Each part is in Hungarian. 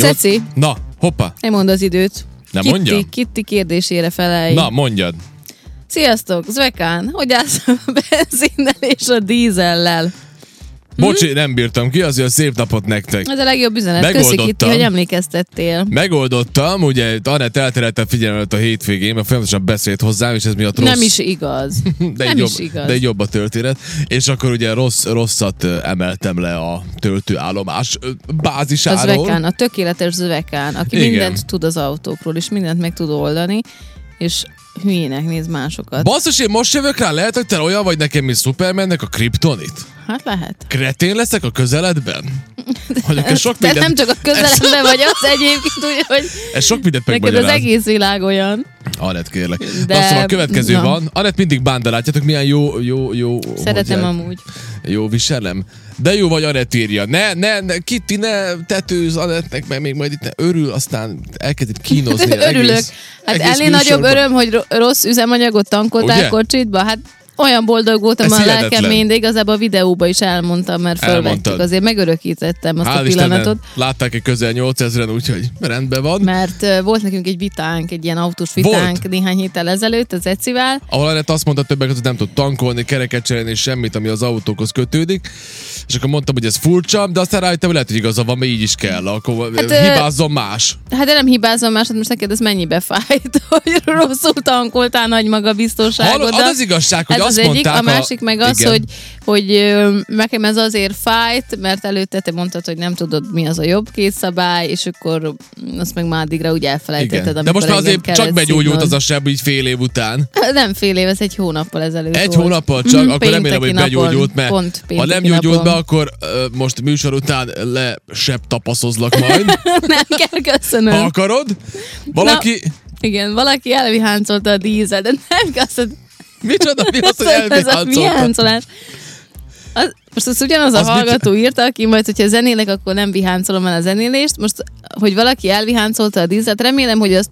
Ceci, Na, hoppa, nem mond az időt. Nem Kitti, mondja? Kitti kérdésére felelj. na mondjad. Sziasztok, Zvekán, hogy állsz a benzinnel és a dízellel? Mhm. Bocsi, nem bírtam ki, azért szép napot nektek. Ez a legjobb üzenet. Köszi Megoldottam. Kitti, hogy emlékeztettél. Megoldottam, ugye Anett elterelte figyelmet a hétvégén, mert folyamatosan beszélt hozzám, és ez miatt rossz. Nem is igaz. de nem így is jobb, igaz. De így jobb a történet. És akkor ugye rossz, rosszat ö, emeltem le a töltőállomás ö, A bázisáról. Zvekán, a tökéletes Zvekán, aki Igen. Igen. mindent tud az autókról, és mindent meg tud oldani, és hülyének néz másokat. Basszus, én most jövök rá, lehet, hogy te olyan vagy nekem, mint Supermannek a kriptonit. hát lehet. Hát Kretén leszek a közeledben? Hogy akkor sok Te mindent, nem csak a közelemben vagy az egyébként, úgy, hogy ez sok mindent neked az megmagyaráz. egész világ olyan. Anett, kérlek. De... De- Na, szóval a következő na. van. Anett mindig bándál, látjátok milyen jó, jó, jó. Szeretem hogy- amúgy. Jó viselem. De jó vagy Anett írja. Ne, ne, ne, Kitty, ne tetőz Anettnek, mert még majd itt ne örül, aztán elkezd itt kínozni. az Örülök. egész- hát egész ennél nagyobb műsorban. öröm, hogy ro- rossz üzemanyagot tankoltál Ugye? kocsitba. Hát olyan boldog voltam Ez a hihetetlen. lelkem mindig, igazából a videóba is elmondtam, mert Elmondtad. fölvettük. Azért megörökítettem azt a Hál' pillanatot. Istennek, látták egy közel 8000-en, úgyhogy rendben van. Mert ö, volt nekünk egy vitánk, egy ilyen autós vitánk Volt. néhány héttel ezelőtt az Ecivel. ahol Anett azt mondta többek között, hogy nem tud tankolni, kereket cserélni, és semmit, ami az autókhoz kötődik. És akkor mondtam, hogy ez furcsa, de aztán rájöttem, hogy lehet, hogy igaza van, mert így is kell, akkor hát, Hát, hibázzon más. Hát de nem hibázom más, hát most neked ez mennyibe fájt, hogy rosszul tankoltál nagy maga Hallod, az biztonságodat. az igazság, hogy Ez azt az egyik, mondták a másik meg az, Igen. hogy, hogy ö, nekem ez azért fájt, mert előtte te mondtad, hogy nem tudod, mi az a jobb két szabály, és akkor azt meg már addigra úgy elfelejtetted, igen. De amikor most már engem azért csak kellett begyógyult az szívnod. a seb így fél év után. Nem fél év, ez egy hónappal ezelőtt Egy volt. hónappal csak, Mhm, akkor remélem, pénteki hogy napon, begyógyult, mert pont ha nem pénteki gyógyult napon. be, akkor ö, most műsor után le sebb tapaszozlak majd, Nem kell, köszönöm. ha akarod. Valaki, Igen, valaki elviháncolta a dízel, de nem azt mondta, micsoda, mi az, hogy Szóval, ez a elviháncoltad? viháncolás. Az, most az ugyanaz a Az az mit- hallgató írta, aki majd, hogyha zenélek, akkor nem viháncolom el a zenélést. Most, hogy valaki elviháncolta a dízet, remélem, hogy azt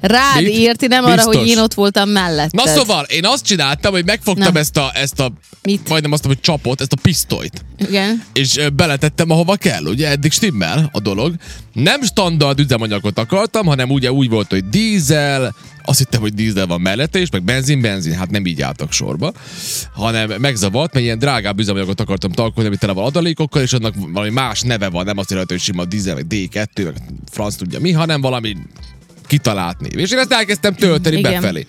rád Mit? írti, nem arra, Biztos. hogy én ott voltam mellette. Na szóval, én azt csináltam, hogy megfogtam Na. ezt a, ezt a Mit? majdnem azt mondom, hogy csapot, ezt a pisztolyt, Igen. és ö, beletettem, ahova kell, ugye? Eddig stimmel a dolog. Nem standard üzemanyagot akartam, hanem ugye úgy volt, hogy dízel, azt hittem, hogy dízel van mellette, és meg benzin, benzin, hát nem így álltak sorba, hanem megzavart, mert ilyen drágább üzemanyagot akartam tankolni, ami tele van adalékokkal, és annak valami más neve van, nem azt jelenti, hogy sima dízel, meg D2, meg franc tudja mi, hanem valami kitalált név. És én ezt elkezdtem tölteni Igen. befelé.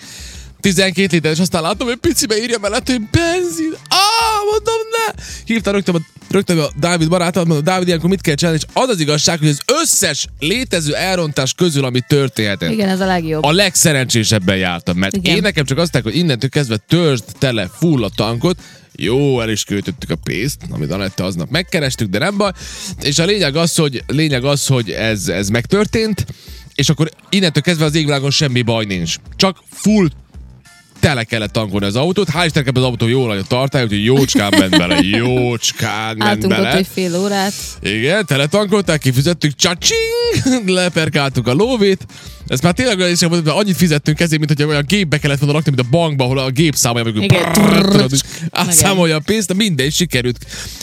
12 liter, és aztán látom, hogy picibe írja mellett, hogy benzin. Á, mondom, ne! Hívtam rögtön a, rögtön a Dávid barátomat, mondom, Dávid, ilyenkor mit kell csinálni? És az az igazság, hogy az összes létező elrontás közül, ami történhetett, Igen, ez a legjobb. a legszerencsésebben jártam, mert Igen. Igen. én nekem csak azt mondták, hogy innentől kezdve törzsd tele full a tankot, jó, el is költöttük a pénzt, amit Anette aznap megkerestük, de nem baj. És a lényeg az, hogy, lényeg az, hogy ez, ez megtörtént, és akkor innentől kezdve az égvilágon semmi baj nincs. Csak full tele kellett tankolni az autót. Hál' Istennek ebben az autó jól nagy a tartály, úgyhogy jócskán ment bele, jócskán ment Álltunk bele. ott egy fél órát. Igen, teletankolták, kifizettük, csacsing, leperkáltuk a lóvét. Ezt már tényleg olyan is volt, mert annyit fizettünk ezért, mint hogy olyan gépbe kellett volna rakni, mint a bankba, ahol a gép számolja meg, Igen. brrr, tudod, és átszámolja a pénzt, de mindegy, sikerült.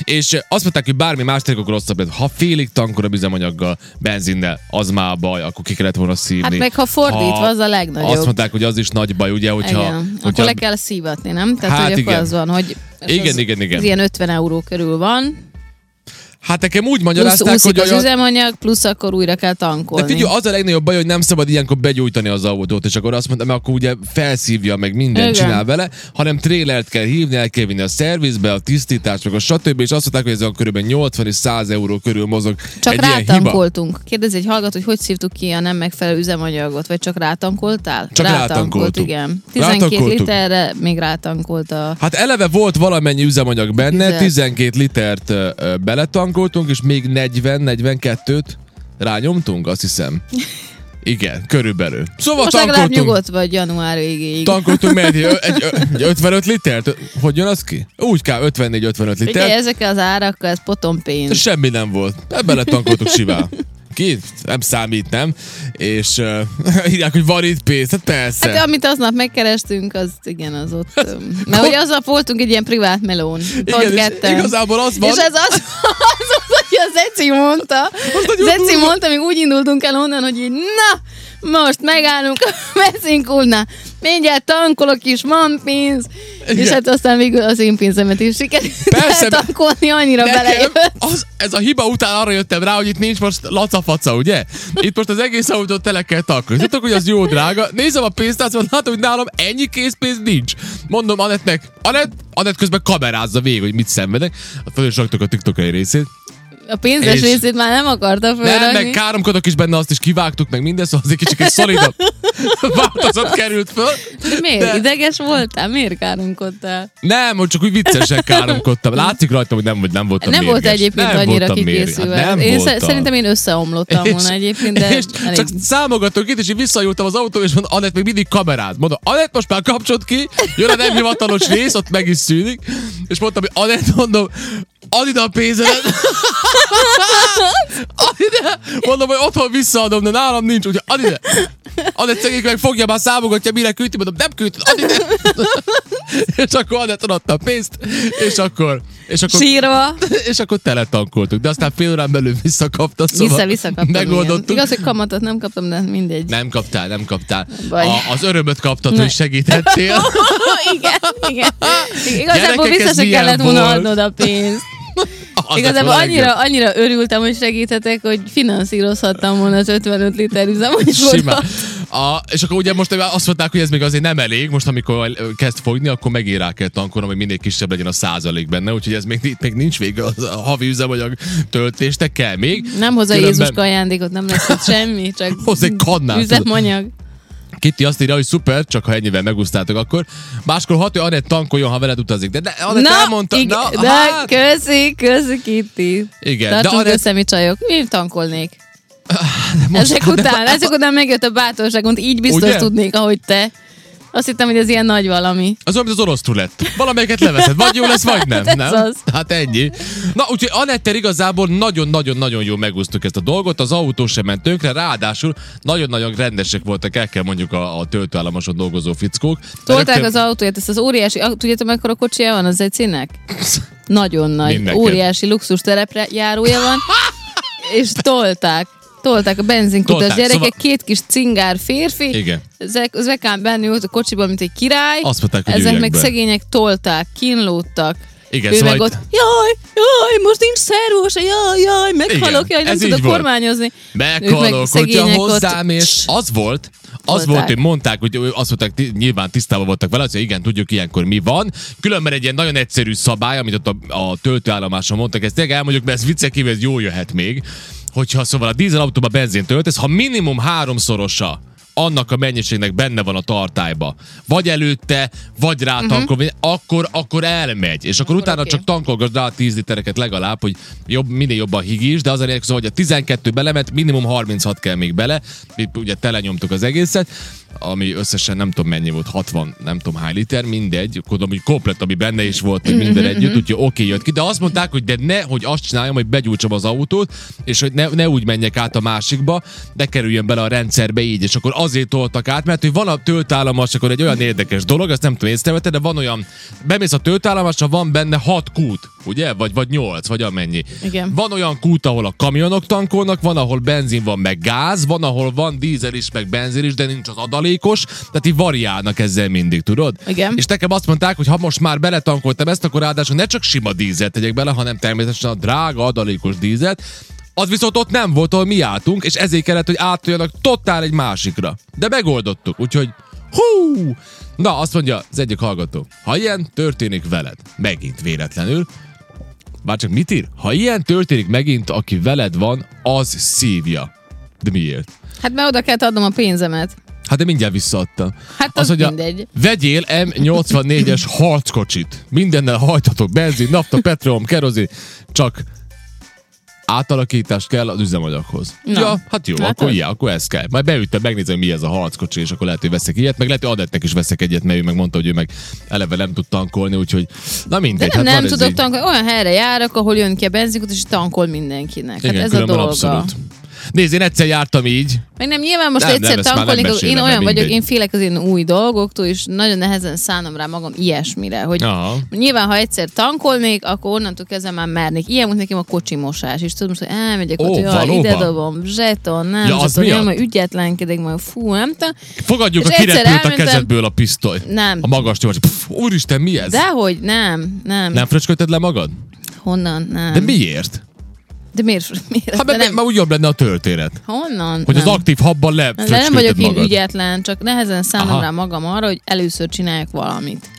És eh, azt mondták, hogy bármi más tényleg akkor rosszabb lett. Ha félig tankolom üzemanyaggal, benzinnel, az már baj, akkor ki kellett volna szívni. Hát meg ha fordítva, az a legnagyobb. Azt mondták, hogy az is nagy baj, ugye, hogyha... igen. hogyha Akkor le kell szívatni, nem? Tehát, Hát hogy akkor igen. az van, hogy ez Igen, az, igen, igen. Ez ilyen 50 euró körül van, Hát nekem úgy Plusz magyarázták, úszik hogy az olyan... üzemanyag, plusz akkor újra kell tankolni. De Hát figyelj, az a legnagyobb baj, hogy nem szabad ilyenkor begyújtani az autót, és akkor azt mondtam, mert akkor ugye felszívja, meg mindent Igen. csinál vele, hanem trélert kell hívni, el kell vinni a szervizbe, a tisztítás, meg a stb. És azt mondták, hogy ez olyan körülbelül 80 és 100 euró körül mozog. csak egy ilyen hiba. rátankoltunk. Kérdezi egy hallgató, hogy hogy szívtuk ki a nem megfelelő üzemanyagot, vagy csak rátankoltál? Csak Rátankolt, rátankoltuk. igen. 12 Rátankoltuk. literre még rátankolt a... Hát eleve volt valamennyi üzemanyag benne, Tizet. 12 litert ö, ö, beletankoltunk, és még 40-42-t rányomtunk, azt hiszem. Igen, körülbelül. Szóval Most legalább tankoltunk. nyugodt vagy január végéig. Tankoltunk mert egy, egy, egy 55 litert? Hogy jön az ki? Úgy kell, 54-55 Ugye liter. ezek az árakkal, ez potom pénz. Semmi nem volt. Ebben lett tankoltuk simán. Ki? Nem számít, nem? És uh, írják, hogy van itt pénz. Hát persze. Hát amit aznap megkerestünk, az igen, az ott... öm, Mert ugye aznap voltunk egy ilyen privát melón. Pont Igen, és ketten. igazából az van, És ez az, az, az, hogy a Zeci mondta. Zeci mondta, még úgy indultunk el onnan, hogy így, na, most megállunk a messzinkúrnál. Mindjárt tankolok is, van pénz. És Igen. hát aztán végül az én pénzemet is sikerült Persze, Persze, tankolni, annyira Nekem belejött. az, ez a hiba után arra jöttem rá, hogy itt nincs most lacafaca, ugye? Itt most az egész autót tele kell tankolni. Tudtok, hogy az jó drága. Nézem a pénztárcát, látom, hogy nálam ennyi készpénz nincs. Mondom Anettnek, Anett, Anett közben kamerázza végig, hogy mit szenvedek. Hát, Föl is raktuk a tiktokai részét. A pénzes És- részét már nem akarta Nem, fölrakni. meg káromkodok is benne, azt is kivágtuk, meg minden, szóval az egy kicsit egy szolidabb változat került föl. De miért? De- De... Ideges voltál? Miért káromkodtál? Nem, hogy csak úgy viccesen káromkodtam. Látszik rajta, hogy nem, hogy nem voltam nem volt mérges. egyébként nem annyira voltam mérges. kikészülve. Hát nem én sze- voltam. szerintem én összeomlottam volna egyébként, de és elég csak számogatok itt, és így visszajutottam az autó, és mondom, Anett még mindig kameráz. Mondom, Anett most már kapcsolt ki, jön a nem hivatalos rész, ott meg is szűnik, és mondtam, hogy Anett, mondom, add ide a pénzedet. add ide. Mondom, hogy otthon visszaadom, de nálam nincs, úgyhogy add ide. Anett szegény meg fogja, már számogatja, mire küldi, mondom, nem küldted, add ide. és akkor Anett adta a pénzt, és akkor... És akkor sírva. és akkor teletankoltuk, de aztán fél órán belül visszakapta, szóval Vissza, vissza kaptam. megoldottuk. igen. Igaz, hogy kamatot nem kaptam, de mindegy. Nem kaptál, nem kaptál. Baj. A, az örömöt kaptad, hogy segítettél. igen, igen. Igazából Gyerekek, vissza ez se milyen kellett volna volt? adnod a pénzt. Az Igazából lett volna annyira, legjobb. annyira örültem, hogy segítetek, hogy finanszírozhattam volna az 55 liter üzemanyagot. Simán. A, és akkor ugye most azt mondták, hogy ez még azért nem elég, most amikor ö, kezd fogni, akkor megint rá kell tankolnom, hogy minél kisebb legyen a százalék benne, úgyhogy ez még, itt még nincs vége az a havi üzemanyag töltés, de kell még. Nem hoz a Különben- Jézuska ajándékot, nem lesz itt semmi, csak Hoz egy kannát, tudod. üzemanyag. Kitty azt írja, hogy szuper, csak ha ennyivel megúsztátok akkor. Máskor hat, hogy Anett tankoljon, ha veled utazik. De ne, Anett elmondta. igen, na, de hát. köszi, köszi Kitty. Igen, de Tartsunk Anett- össze, mi csajok. Mi tankolnék? ezek után, ezek után megjött a bátorságunk, így biztos hát- Ugye? tudnék, ahogy te. Azt hittem, hogy ez ilyen nagy valami. Az olyan, mint az orosz rulett. Valamelyiket leveszed, vagy jó lesz, vagy nem. Ez nem? az. Hát ennyi. Na, úgyhogy Anettel igazából nagyon-nagyon-nagyon jól megúsztuk ezt a dolgot, az autó sem ment tönkre, ráadásul nagyon-nagyon rendesek voltak, el kell mondjuk a, a töltőállomáson dolgozó fickók. De Tolták rögtön- az autóját, ezt az óriási, au- tudjátok, mekkora kocsija van az ecinek? Nagyon nagy, Mindenképp. óriási luxus terepre járója van, és tolták. Tolták a benzinkutas Tolták, gyerekek, szóval- két kis cingár férfi, Igen. ezek az ekán benne ült a kocsiban, mint egy király, Azt mondták, hogy ezek üljek meg be. szegények tolták, kínlódtak, Igen, ő szóval meg itt- ott, jaj, jaj, most nincs szervós, jaj, jaj, meghalok, Igen, jaj, nem ez így tudok volt. kormányozni. Ők meg Meghalok, hogyha szegények ott- hozzám, és Cs. az volt, az Volták. volt, hogy mondták, hogy ő- azt mondták, ti- nyilván tisztában voltak vele, hogy igen, tudjuk ilyenkor mi van. Különben egy ilyen nagyon egyszerű szabály, amit ott a, a töltőállomáson mondtak, ezt tényleg elmondjuk, mert ez viccek kívül, ez jól jöhet még. Hogyha szóval a dízelautóba benzint töltesz, ha minimum háromszorosa annak a mennyiségnek benne van a tartályba, vagy előtte, vagy rá tankol, Mhm. uh-huh. akkor, akkor elmegy, és akkor, utána oké. csak tankolgass rá 10 litereket legalább, hogy jobb, minél jobban higís, de az a lényeg, szóval, hogy a 12 belement, minimum 36 kell még bele, mi ugye telenyomtuk az egészet, ami összesen nem tudom mennyi volt, 60, nem tudom hány liter, mindegy, gondolom, hogy komplet, ami benne is volt, meg minden együtt, úgyhogy oké jött ki, de azt mondták, hogy de ne, hogy azt csináljam, hogy begyújtsam az autót, és hogy ne, ne úgy menjek át a másikba, de kerüljön bele a rendszerbe így, és akkor azért toltak át, mert hogy van a töltállomás, akkor egy olyan érdekes dolog, ezt nem tudom észrevette, de van olyan, bemész a töltállomásra, van benne hat kút, ugye? Vagy, vagy nyolc, vagy amennyi. Igen. Van olyan kút, ahol a kamionok tankolnak, van, ahol benzin van, meg gáz, van, ahol van dízel is, meg benzin is, de nincs az adalékos, tehát így variálnak ezzel mindig, tudod? Igen. És nekem azt mondták, hogy ha most már beletankoltam ezt, akkor ráadásul ne csak sima dízelt tegyek bele, hanem természetesen a drága adalékos dízelt, az viszont ott nem volt, ahol mi álltunk, és ezért kellett, hogy átoljanak totál egy másikra. De megoldottuk, úgyhogy hú! Na, azt mondja az egyik hallgató, ha ilyen történik veled, megint véletlenül, bár csak mit ír? Ha ilyen történik megint, aki veled van, az szívja. De miért? Hát mert oda kellett adnom a pénzemet. Hát de mindjárt visszaadta. Hát az mondja, mindegy. Vegyél M84-es harckocsit. Mindennel hajtatok. Benzin, nafta, petrolom, kerozin. Csak átalakítás kell az üzemanyaghoz. Na. Ja, hát jó, Látod? akkor ilyen, akkor ez kell. Majd beütöm, megnézem, mi ez a harckocsi, és akkor lehet, hogy veszek ilyet, meg lehet, hogy Adettnek is veszek egyet, mert ő meg mondta, hogy ő meg eleve nem tud tankolni, úgyhogy na De mindegy. nem, hát nem van ez tudok így. tankolni. Olyan helyre járok, ahol jön ki a benzinkút, és tankol mindenkinek. Igen, hát ez a különben dolga. abszolút. Nézd, én egyszer jártam így. Meg nem, nyilván most Nem, nem, egyszer ezt már nem tankolni, mesélem, én nem olyan mindegy. vagyok, én félek az én új dolgoktól, és nagyon nehezen szánom rá magam ilyesmire, hogy Aha. Nyilván, ha egyszer tankolnék, akkor onnantól kezdve már mernék. Ilyen volt nekem a kocsimosás, és tudom, most, hogy elmegyek Ó, ott, jaj, valóban? ide dobom, zseton, nem, Ja, az zseton, jaj, miatt? majd ügyetlenkedik, majd fú, nem tudom. Fogadjuk, És a egyszer kirepült a elmentem- kezedből a pisztoly. Nem. A magas nyomás. Pff, Úristen, mi ez? Dehogy, nem, nem, Nem fröcsködted le magad? Honnan, nem. De miért? De miért? miért? Hát De mert nem. már úgy jobb lenne a történet. Honnan? Hogy nem. az aktív habban de nem vagyok lefröcsködted én magad. ügyetlen, csak nehezen Aha. szánom rá magam arra, hogy először csináljak valamit.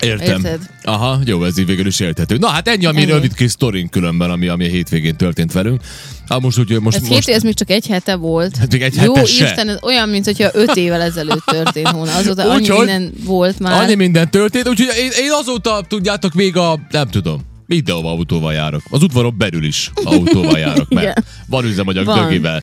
Értem. Érted? Aha, jó, ez így végül is érthető. Na hát ennyi, ami Ennyi. rövid kis sztorink különben, ami, ami a hétvégén történt velünk. Hát most úgy, most, Ez most... most... ez még csak egy hete volt. Hát még egy Jó hete se. Isten, ez olyan, mint hogyha öt évvel ezelőtt történt volna. Azóta annyi Úgyhogy- minden volt már. Annyi minden történt, úgyhogy én, én azóta, tudjátok, még a, nem tudom, mindenhova autóval járok. Az udvaron belül is autóval járok, mert Igen. van üzemanyag Van. dögivel.